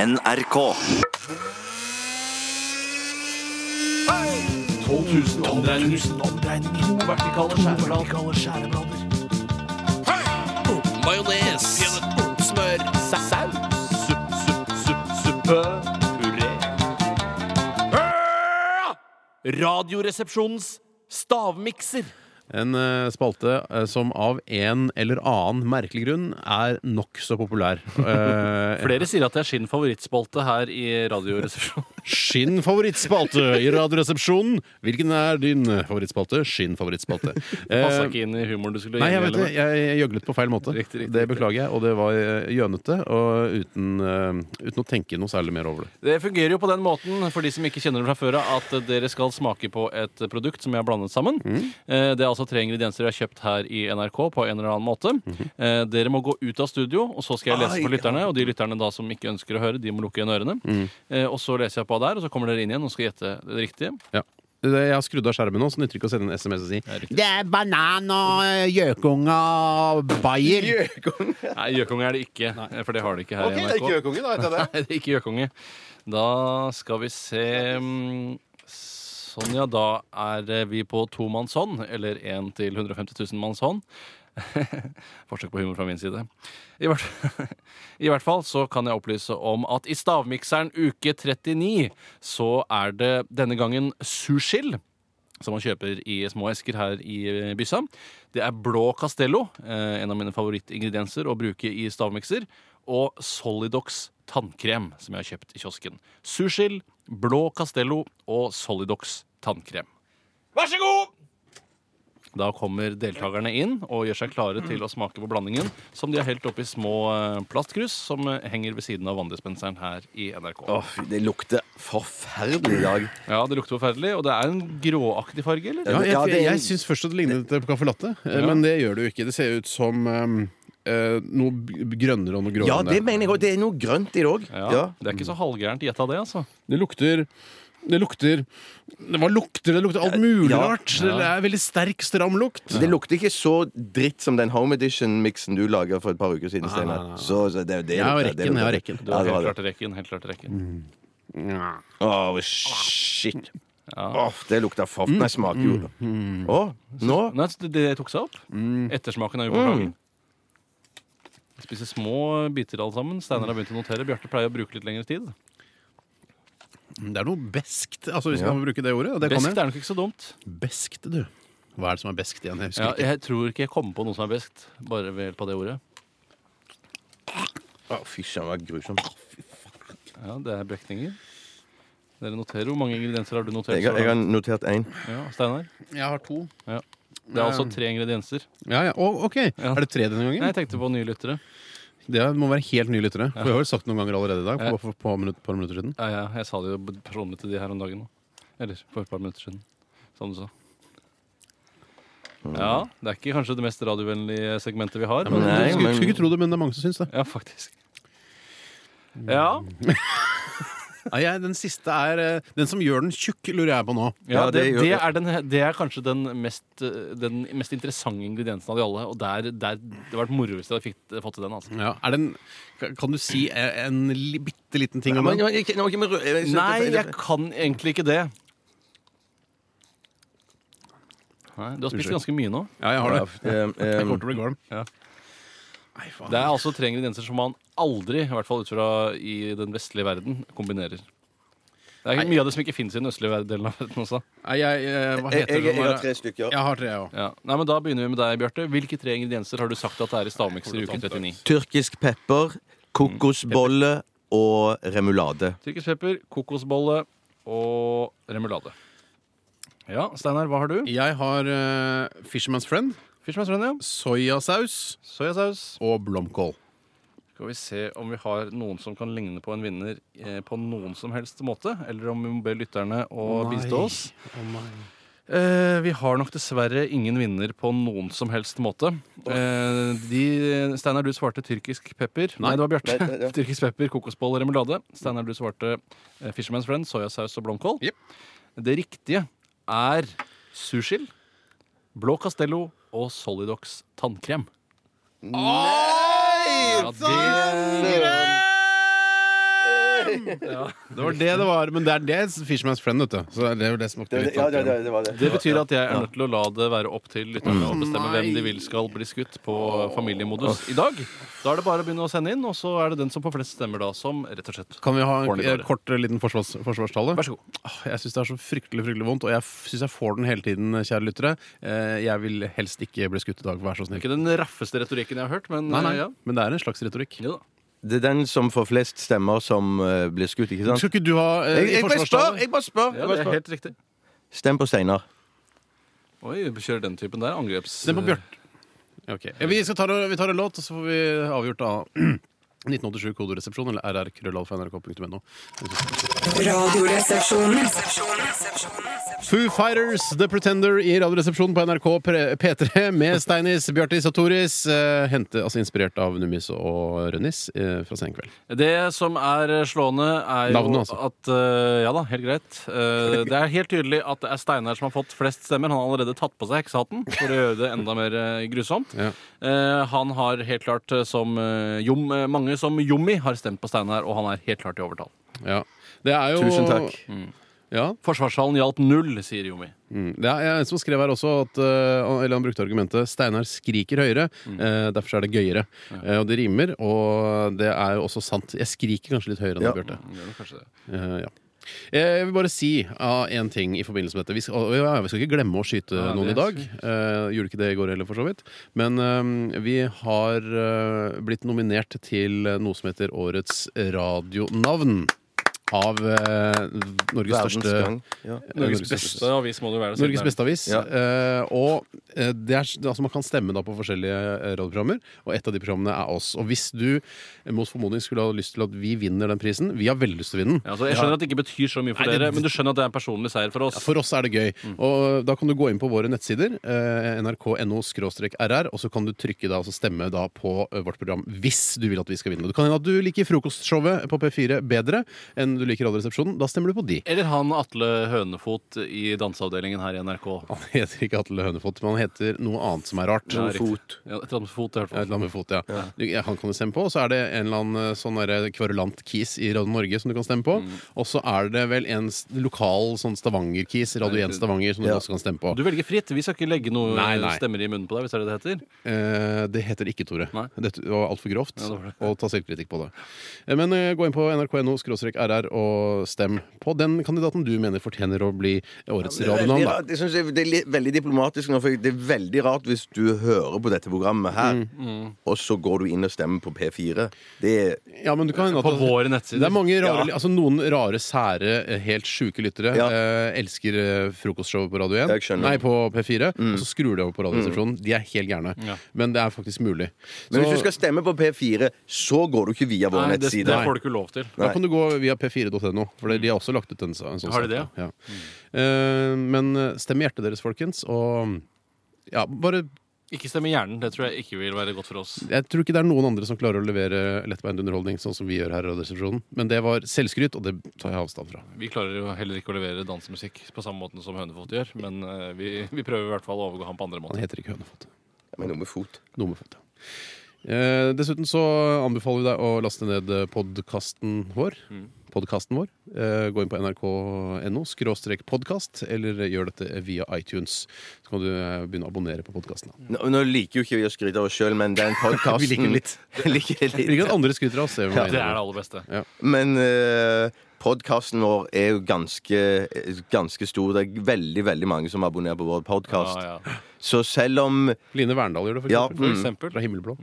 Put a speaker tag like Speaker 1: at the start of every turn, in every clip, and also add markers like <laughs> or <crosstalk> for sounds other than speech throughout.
Speaker 1: NRK.
Speaker 2: 12 000 omdreininger. To vertikale skjæreblader. Majones. Smør. Saus. Supp, supp, supp, suppe. Puré. Radioresepsjonens stavmikser.
Speaker 3: En eh, spalte eh, som av en eller annen merkelig grunn er nokså
Speaker 4: <laughs>
Speaker 3: populær. Eh,
Speaker 4: Flere sier at det er sin favorittspalte her i Radioresepsjonen.
Speaker 3: Skinn favorittspalte i Radioresepsjonen. Hvilken er din favorittspalte? Skinn favorittspalte.
Speaker 4: Passa
Speaker 3: Eh,
Speaker 4: ikke inn i humoren du skulle
Speaker 3: Nei, jeg
Speaker 4: inn i,
Speaker 3: vet det.
Speaker 4: eller?
Speaker 3: Jeg jeg gjøglet på feil måte.
Speaker 4: Riktig, riktig,
Speaker 3: det beklager jeg, og det var eh, gjønete. Og uten, eh, uten å tenke noe særlig mer over det.
Speaker 4: Det fungerer jo på den måten, for de som ikke kjenner det fra før av, at dere skal smake på et produkt som jeg har blandet sammen. Eh, Det er altså tre ingredienser jeg har kjøpt her i NRK på en eller annen måte. Eh, Dere må gå ut av studio, og så skal jeg lese for lytterne. Og de lytterne da som ikke ønsker å høre, de må lukke igjen ørene. Eh, Og så leser jeg på der, og så kommer dere inn igjen og skal gjette det riktige.
Speaker 3: Ja. Det- Jeg har skrudd av skjermen nå, så nytter det ikke å sende en SMS og si
Speaker 4: riktig.
Speaker 3: Det er banan og gjøkunge og bayer.
Speaker 4: <laughs> Nei, gjøkonge er det ikke, eh, for det har de ikke her i NRK.
Speaker 3: gjøkunge, da.
Speaker 4: <laughs>
Speaker 3: heter
Speaker 4: Nei, det er ikke gjøkonge. Da skal vi se mm, Sånn, ja. Da er eh, vi på tomannshånd, eller én til 150 000 manns hånd. <laughs> Forsøk på humor fra min side. I hvert, <laughs> I hvert fall så kan jeg opplyse om at i Stavmikseren uke 39 så er det denne gangen sursild. Som man kjøper i små esker her i eh, byssa. Det er blå Castello, eh, en av mine favorittingredienser å bruke i stavmikser. Og Solidox tannkrem, som jeg har kjøpt i kiosken. Sursild, blå Castello og Solidox tannkrem. Vær så god! Da kommer deltakerne inn og gjør seg klare til å smake på blandingen, som de har helt oppi små eh, plastkrus som eh, henger ved siden av vanndispenseren her i NRK.
Speaker 1: Å, fy, det lukter forferdelig i dag.
Speaker 4: Ja, Det lukter forferdelig, og det er en gråaktig farge, eller?
Speaker 3: Ja, jeg
Speaker 1: Ja, det
Speaker 3: jeg,
Speaker 1: er-
Speaker 3: jeg syns først at det lignet på caffè latte, eh, men det gjør det jo ikke. Det ser ut som ehm, eh, noe b- grønnere og noe gråere.
Speaker 2: Ja,
Speaker 3: enn
Speaker 2: det mener jeg òg. Det er noe grønt i det òg.
Speaker 4: Ja, Det er ikke så halvgærent gjetta, det. altså
Speaker 3: Det lukter det lukter det, var lukter, det lukter alt mulig
Speaker 2: Ja.
Speaker 3: rart. Det er veldig sterk, stram lukt.
Speaker 2: Det lukter ikke så dritt som den Home Edition-miksen du laga for et par uker siden. Steinar. Så, så det, det
Speaker 3: Jeg har
Speaker 2: lukter- det
Speaker 3: rekken, jeg har
Speaker 2: lukter-
Speaker 3: rekken.
Speaker 4: Du
Speaker 2: Ja,
Speaker 4: har
Speaker 2: det var
Speaker 4: helt
Speaker 2: det. Mm.
Speaker 4: klart rekken. helt klart rekken
Speaker 2: Åh, shit. Åh, det lukter faff. Nei, smaker jo Åh, nå
Speaker 4: Nei, så det, det tok seg opp.
Speaker 2: Mm.
Speaker 4: Ettersmaken er upåklagelig. Vi Spiser små biter alle sammen. Steinar har begynt å notere. Bjarte pleier å bruke litt lengre tid.
Speaker 3: Det er noe beskt, altså, hvis
Speaker 2: Ja.
Speaker 3: man kan bruke det ordet. og Det
Speaker 4: Beskt
Speaker 3: kan
Speaker 4: er nok ikke så dumt.
Speaker 3: jeg. Beskt, du. Hva er det som er beskt igjen? Jeg husker
Speaker 4: Ja,
Speaker 3: ikke.
Speaker 4: jeg tror ikke jeg kommer på noe som er beskt, bare ved hjelp av det ordet.
Speaker 2: Å, Fy søren, det var grusomt.
Speaker 4: Ja, Det er brekninger. Dere noterer. Hvor mange ingredienser har du notert?
Speaker 2: Jeg, har-
Speaker 4: så
Speaker 2: jeg har Mm.
Speaker 4: langt?
Speaker 2: notert én.
Speaker 4: Ja, Steinar?
Speaker 3: Jeg har to.
Speaker 4: Ja. Det er altså tre ingredienser.
Speaker 3: Ja, ja. Å, ok. Er det
Speaker 2: Mm.
Speaker 3: tre denne
Speaker 4: Nei,
Speaker 3: gangen?
Speaker 4: Jeg tenkte på nye lyttere.
Speaker 3: Det må være helt nye lyttere. For jeg har jo sagt noen ganger allerede i dag. På, på, på minutt, par minutter siden.
Speaker 4: Ja, ja, jeg sa det jo personlig til de her om dagen. nå. Eller for et par minutter siden, som du sa. Ja, det er ikke kanskje det mest radiovennlige segmentet vi har.
Speaker 3: Men,
Speaker 4: Men,
Speaker 2: Nei,
Speaker 3: du skulle,
Speaker 2: men-
Speaker 3: skulle ikke tro det, men det er mange som syns det.
Speaker 4: ja, faktisk. Ja,
Speaker 3: Nei, jeg, den siste er eh, Den som gjør den tjukk, lurer jeg på nå.
Speaker 4: ja
Speaker 2: Ja,
Speaker 4: det,
Speaker 2: det gjør-
Speaker 4: det, er den, det er kanskje den mest, eh, den mest interessante ingrediensen av de alle. Og der, der, det hadde vært moro hvis jeg hadde fikk- fått til den. altså
Speaker 3: Ja, er den, ka- kan du si eh, en li, bitte liten ting om
Speaker 2: Men,
Speaker 3: den?
Speaker 2: jeg- jeg- nå, ikke med rød- jeg- jeg-
Speaker 4: Nei, jeg kan egentlig ikke det. Nei, Du har spist
Speaker 3: Unnskyld.
Speaker 4: ganske mye nå.
Speaker 3: Ja, jeg har det.
Speaker 2: Eh, eh,
Speaker 3: Jeg kommer til å bli kvalm.
Speaker 4: Ja.
Speaker 3: Nei, faen.
Speaker 4: Det er altså tre ingredienser som man aldri, i hvert fall ut fra i den vestlige verden, kombinerer. Det er mye av det som ikke fins i den østlige ver- delen av verden også.
Speaker 3: Nei, jeg, jeg, hva
Speaker 2: jeg,
Speaker 3: heter
Speaker 2: eh, jeg,
Speaker 3: det?
Speaker 2: jeg har tre stykker.
Speaker 3: Jeg har tre, jeg òg.
Speaker 4: Ja. Nei, men Da begynner vi med deg, Bjarte. Hvilke tre ingredienser har du sagt at det er i stavmikser i uke 39?
Speaker 2: Tyrkisk pepper, kokosbolle og remulade.
Speaker 4: Tyrkisk pepper, kokosbolle og remulade. Ja, Steinar, hva har du?
Speaker 3: Jeg har eh, Fisherman's Friend,
Speaker 4: Fishman's Friend, ja.
Speaker 3: soyasaus
Speaker 4: Soyasaus.
Speaker 3: og blomkål.
Speaker 4: Skal vi se om vi har noen som kan ligne på en vinner eh, på noen som helst måte. Eller om vi må be lytterne å
Speaker 3: Nei.
Speaker 4: bistå oss. Eh, vi har nok dessverre ingen vinner på noen som helst måte. Eh, de, Steinar, du svarte tyrkisk pepper. Nei, det var Bjarte.
Speaker 2: Nei, nei, ja.
Speaker 4: <laughs> tyrkisk pepper, kokosboll og remulade. Steinar, du svarte eh, Fisherman's Friend, soyasaus og blomkål.
Speaker 3: Jep.
Speaker 4: Det riktige er sursild, blå castello og Solidox tannkrem.
Speaker 2: Nei!
Speaker 4: Ja, det,
Speaker 3: Det var det det var. Men det er det Fishman's Friend, vet du. Så det er jo det smakte litt av krem.
Speaker 1: det var det.
Speaker 4: Det betyr at jeg er nødt til å la det være opp til lytterne å bestemme
Speaker 3: Nei.
Speaker 4: hvem de vil skal bli skutt på familiemodus i dag. Da er det bare å begynne å sende inn, og så er det den som får flest stemmer da, som rett og slett
Speaker 3: Kan vi ha en
Speaker 4: Ordentlig
Speaker 3: eh,
Speaker 4: dårlig.
Speaker 3: kort eh, liten forsvars, forsvarstale?
Speaker 4: Vær så god.
Speaker 3: Åh, Jeg syns det er så fryktelig fryktelig vondt, og jeg syns jeg får den hele tiden, kjære lyttere. Eh, Jeg vil helst ikke bli skutt i dag, vær så snill.
Speaker 4: Ikke den raffeste retorikken jeg har hørt, men
Speaker 3: Nei, nei,
Speaker 4: eh, ja.
Speaker 3: Men det er en slags retorikk.
Speaker 4: Jo da.
Speaker 2: Det er den som får flest stemmer, som eh, blir skutt, ikke sant?
Speaker 3: Skal ikke du ha eh,
Speaker 2: Jeg, jeg bare spør!
Speaker 3: forsvarstale?
Speaker 2: Jeg bare spør. Jeg
Speaker 4: Ja, det
Speaker 2: bare
Speaker 4: er
Speaker 2: spør.
Speaker 4: helt riktig.
Speaker 2: Stem på Steinar.
Speaker 4: Oi, kjører den typen der. Angreps...
Speaker 3: Stem på Bjørt. Ok. Ja, vi, skal ta, vi tar en låt, og så får vi avgjort av <clears throat> 1987 koderesepsjon eller rrkrøllalfa.nrk.no.
Speaker 5: Radioresepsjonen.
Speaker 3: Foo Fighters, The Pretender i Radioresepsjonen på NRK P- P3 med Steinis, Bjartis og Toris. eh, hente, altså inspirert av Nummis og Rønnis eh, fra Senkveld.
Speaker 4: Det som er slående, er jo
Speaker 3: Navnet, altså.
Speaker 4: at eh, Ja da, helt greit. Eh, det er helt tydelig at det er Steinar som har fått flest stemmer. Han har allerede tatt på seg heksehatten for å gjøre det enda mer eh, grusomt.
Speaker 3: Ja.
Speaker 4: Eh, han har helt klart eh, som eh, Jom, eh, mange som Jommi har stemt på Steinar, og han er helt klart i overtall.
Speaker 3: Ja. Det er jo
Speaker 2: Tusen takk.
Speaker 3: Ja.
Speaker 4: Forsvarssalen gjaldt null, sier Jommi.
Speaker 3: Mm. Det er en som skrev her også at eh, Eller han brukte argumentet 'Steinar skriker høyere',
Speaker 2: Mm.
Speaker 3: eh, derfor er det gøyere. Eh, og det rimer, og det er jo også sant. Jeg skriker kanskje litt høyere enn
Speaker 2: Ja.
Speaker 3: deg, Bjarte.
Speaker 4: Gjør det kanskje det.
Speaker 3: Eh, ja. Eh, Jeg vil bare si av en ting i forbindelse med dette. Vi skal, og ja, vi skal ikke glemme å skyte
Speaker 4: Nei,
Speaker 3: noen i
Speaker 4: det
Speaker 3: dag.
Speaker 4: er
Speaker 3: Eh, gjorde ikke det i går heller, for så vidt. Men eh, vi har eh, blitt nominert til eh, noe som heter Årets radionavn. Av eh, Norges
Speaker 2: Verdens
Speaker 3: største
Speaker 2: gang. Ja.
Speaker 4: Norges beste avis må det jo være. siden
Speaker 3: Norges
Speaker 4: det er-
Speaker 3: beste avis.
Speaker 2: Ja.
Speaker 3: Eh, og eh, det er, s- altså man kan stemme da på forskjellige eh, radioprogrammer, og et av de programmene er oss. Og hvis du eh, mot formodning skulle ha lyst til at vi vinner den prisen Vi har veldig lyst til å vinne den.
Speaker 4: Ja, altså, jeg skjønner at det ikke betyr så mye for
Speaker 3: Nei, det-
Speaker 4: dere, men du skjønner at det er en personlig seier for oss.
Speaker 3: For oss er det gøy. Og øh, da kan du gå inn på våre nettsider, eh, nrk.no-rr, og så kan du trykke da, altså stemme da på eh, vårt program hvis du vil at vi skal vinne. Det kan hende at du liker frokostshowet på P4 bedre enn du liker Radioresepsjonen. Da stemmer du på de.
Speaker 4: Eller han Atle Hønefot i danseavdelingen her i NRK.
Speaker 3: Han heter ikke Atle Hønefot, men han heter noe annet som er rart.
Speaker 4: Ja, riktig.
Speaker 2: Fot.
Speaker 4: Ja, et eller annet med fot, i hvert
Speaker 3: Ja, Et
Speaker 4: fall.
Speaker 3: eller annet med fot, ja. Du, ja. Han kan du stemme på. Og så er det en eller annen eh, sånn derre kverulant kis i Radio Norge som du kan stemme på. Og så er det vel en s- lokal sånn Stavanger-kis, Radio 1 Stavanger, som du
Speaker 2: Ja.
Speaker 3: også kan stemme på.
Speaker 4: Du velger fritt. Vi skal ikke legge noe
Speaker 3: Nei, nei.
Speaker 4: stemmer i munnen på deg, hvis det er det det heter.
Speaker 3: Eh, det heter ikke Tore.
Speaker 4: Nei.
Speaker 3: Dette var altfor grovt.
Speaker 4: Ja, det var det.
Speaker 3: Og ta selvkritikk på det. Eh, men eh, gå inn på nrk.no rr og stem på den kandidaten du mener fortjener å bli årets radionavn,
Speaker 2: Veldig
Speaker 3: da.
Speaker 2: rart. Jeg synes eh, det er litt- veldig diplomatisk nå, for det er veldig rart hvis du hører på dette programmet her, og så går du inn og stemmer på P4. Det er
Speaker 3: Ja, men du kan hende at-
Speaker 4: På våre
Speaker 3: Det
Speaker 4: nettsider.
Speaker 3: er mange rare, altså Noen rare, sære, eh, helt sjuke lyttere
Speaker 2: Ja.
Speaker 3: eh, elsker eh, frokostshowet på Radio 1.
Speaker 2: Jeg skjønner. Mm.
Speaker 3: Nei, på P4. Og så skrur de over på Radioresepsjonen. De er helt gærne.
Speaker 4: Ja.
Speaker 3: Men det er faktisk mulig.
Speaker 2: Men
Speaker 3: Så
Speaker 2: hvis du skal stemme på P4, så går du ikke via vår
Speaker 4: Nei, det,
Speaker 2: nettside.
Speaker 4: det får du ikke lov til.
Speaker 3: Da kan du gå via p4.no, for de har også lagt ut en, sa- en sånn
Speaker 4: Har de
Speaker 3: sak, da. Ja. Eh, men eh, stem med hjertet deres, folkens. Og ja, bare
Speaker 4: Ikke stemme hjernen. Det tror jeg ikke vil være godt for oss.
Speaker 3: Jeg tror ikke det er noen andre som klarer å levere lettbeint underholdning sånn som vi gjør her i Radioresepsjonen. Men det var selvskryt, og det tar jeg avstand fra.
Speaker 4: Vi klarer jo heller ikke å levere dansemusikk på samme måten som Hønefot gjør, men eh, vi, vi prøver i hvert fall å overgå ham på andre
Speaker 3: Han
Speaker 4: måter.
Speaker 3: heter ikke Hønefot.
Speaker 2: Men noe med fot.
Speaker 3: Noe med fot, ja. Eh, dessuten så anbefaler vi deg å laste ned podkasten vår.
Speaker 4: Mm.
Speaker 3: Podcasten vår. Eh, gå inn på nrk.no skråstrek podkast, eller eh, gjør dette via iTunes. Så kan du eh, begynne å abonnere på podkasten.
Speaker 2: Nå, nå liker jo ikke vi å skryte av oss sjøl, men den podkasten
Speaker 3: <laughs> Vi liker
Speaker 2: <laughs>
Speaker 3: litt. Ikke at andre skryter av oss. Det er jo
Speaker 4: Det er det
Speaker 3: meningen.
Speaker 4: aller beste.
Speaker 2: Men uh, podkasten vår er jo ganske, eh, ganske stor. Det er veldig veldig mange som abonnerer på vår podkast.
Speaker 4: Ja, ja.
Speaker 2: Så selv om
Speaker 3: Line Verndal gjør det, for
Speaker 2: Ja,
Speaker 3: eksempel. Mm.
Speaker 4: For eksempel.
Speaker 3: Fra Himmelblå.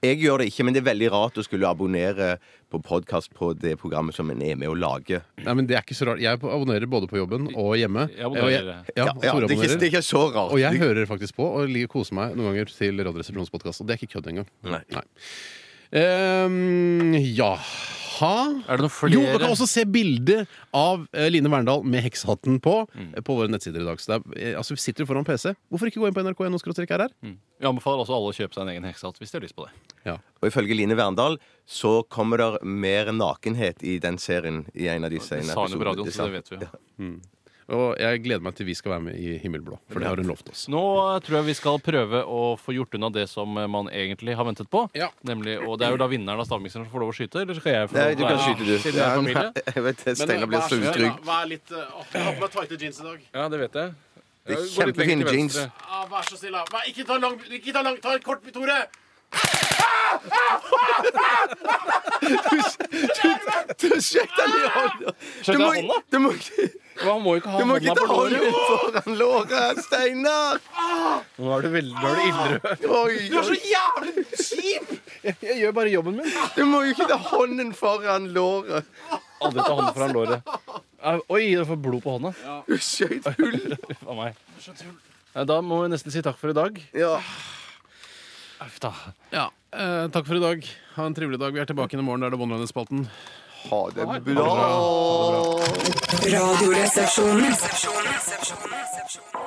Speaker 2: Jeg gjør det ikke, men det er veldig rart å skulle abonnere på podkast på det programmet som en er med å lage.
Speaker 3: Nei, men det er ikke så rart. Jeg abonnerer både på jobben og hjemme.
Speaker 4: Jeg abonnerer.
Speaker 3: Og jeg- ja,
Speaker 2: Ja, det, er
Speaker 3: Tore
Speaker 2: ikke, det
Speaker 3: abonnerer.
Speaker 2: er ikke så rart.
Speaker 3: Og jeg hører faktisk på og liker- koser meg noen ganger til Radioresepsjonens podkast. Og det er ikke kødd engang.
Speaker 2: Nei.
Speaker 3: Mm. Um, ja ha
Speaker 4: Er det noen
Speaker 3: Jo, altså- man kan
Speaker 4: flere
Speaker 3: også se bilde av eh, Line Verndal med heksehatten på eh, på våre nettsider i dag. Så det er, eh, altså, sitter du foran PC, hvorfor ikke gå inn på nrk.no rr?
Speaker 4: Jeg anbefaler også alle å kjøpe seg en egen heksehatt hvis de har lyst på det.
Speaker 3: Ja.
Speaker 2: Og ifølge Line Verndal så kommer det mer nakenhet i den serien i en av de
Speaker 4: Det
Speaker 2: senere
Speaker 4: sa hun jo på
Speaker 2: episodene.
Speaker 4: radioen, så det vet vi jo.
Speaker 3: Og jeg gleder meg til vi skal være med i Himmelblå, for det har hun lovt oss.
Speaker 4: Nå eh, tror jeg vi skal prøve å få gjort unna det som eh, man egentlig har ventet på.
Speaker 3: Ja.
Speaker 4: Nemlig, og det er jo da vinneren av stavmikseren som får lov å skyte, eller skal jeg få
Speaker 2: Nei, du kan
Speaker 4: Nei,
Speaker 2: skyte, du.
Speaker 4: Siden jeg
Speaker 2: Ja,
Speaker 4: er
Speaker 2: men,
Speaker 4: familie. eh,
Speaker 2: jeg vet, Steinar blir så utrygg.
Speaker 3: Vær litt eh, Jeg har på meg tighte jeans i dag.
Speaker 4: Ja, det vet jeg.
Speaker 2: Det er
Speaker 4: Gå litt lenger
Speaker 2: kjempefine
Speaker 4: til
Speaker 2: jeans.
Speaker 4: venstre.
Speaker 3: Vær så snill, da. Ikke ta lang, ikke ta lang, ta en kort, Tore!
Speaker 2: Du skjøt han i hånda! Du
Speaker 4: Skjøt
Speaker 2: må,
Speaker 4: jeg hånda?
Speaker 2: du må, ikke-
Speaker 4: Men Han må jo
Speaker 2: du
Speaker 4: ikke ha
Speaker 2: må ikke ta
Speaker 4: hånda på låret.
Speaker 2: hånden foran låret, Steinar!
Speaker 4: Nå er du veldig, nå er du ildrød.
Speaker 2: Oi, oi,
Speaker 3: jævlig kjip! Jeg gjør bare jobben min.
Speaker 2: du må jo ikke ta hånden foran låret.
Speaker 4: Aldri ta hånda foran låret. Au, Oi, du får blod på hånda.
Speaker 2: Du skjøt hull.
Speaker 4: <laughs> Uff a meg. Nei, Da må vi nesten si takk for i dag.
Speaker 2: Ja.
Speaker 4: Uff da.
Speaker 3: Ja, eh, Takk for i dag. Ha en trivelig dag. Vi er tilbake inn i morgen. Da er det Bondelandet-spalten.
Speaker 2: Ha det bra.
Speaker 5: Radioresepsjonen.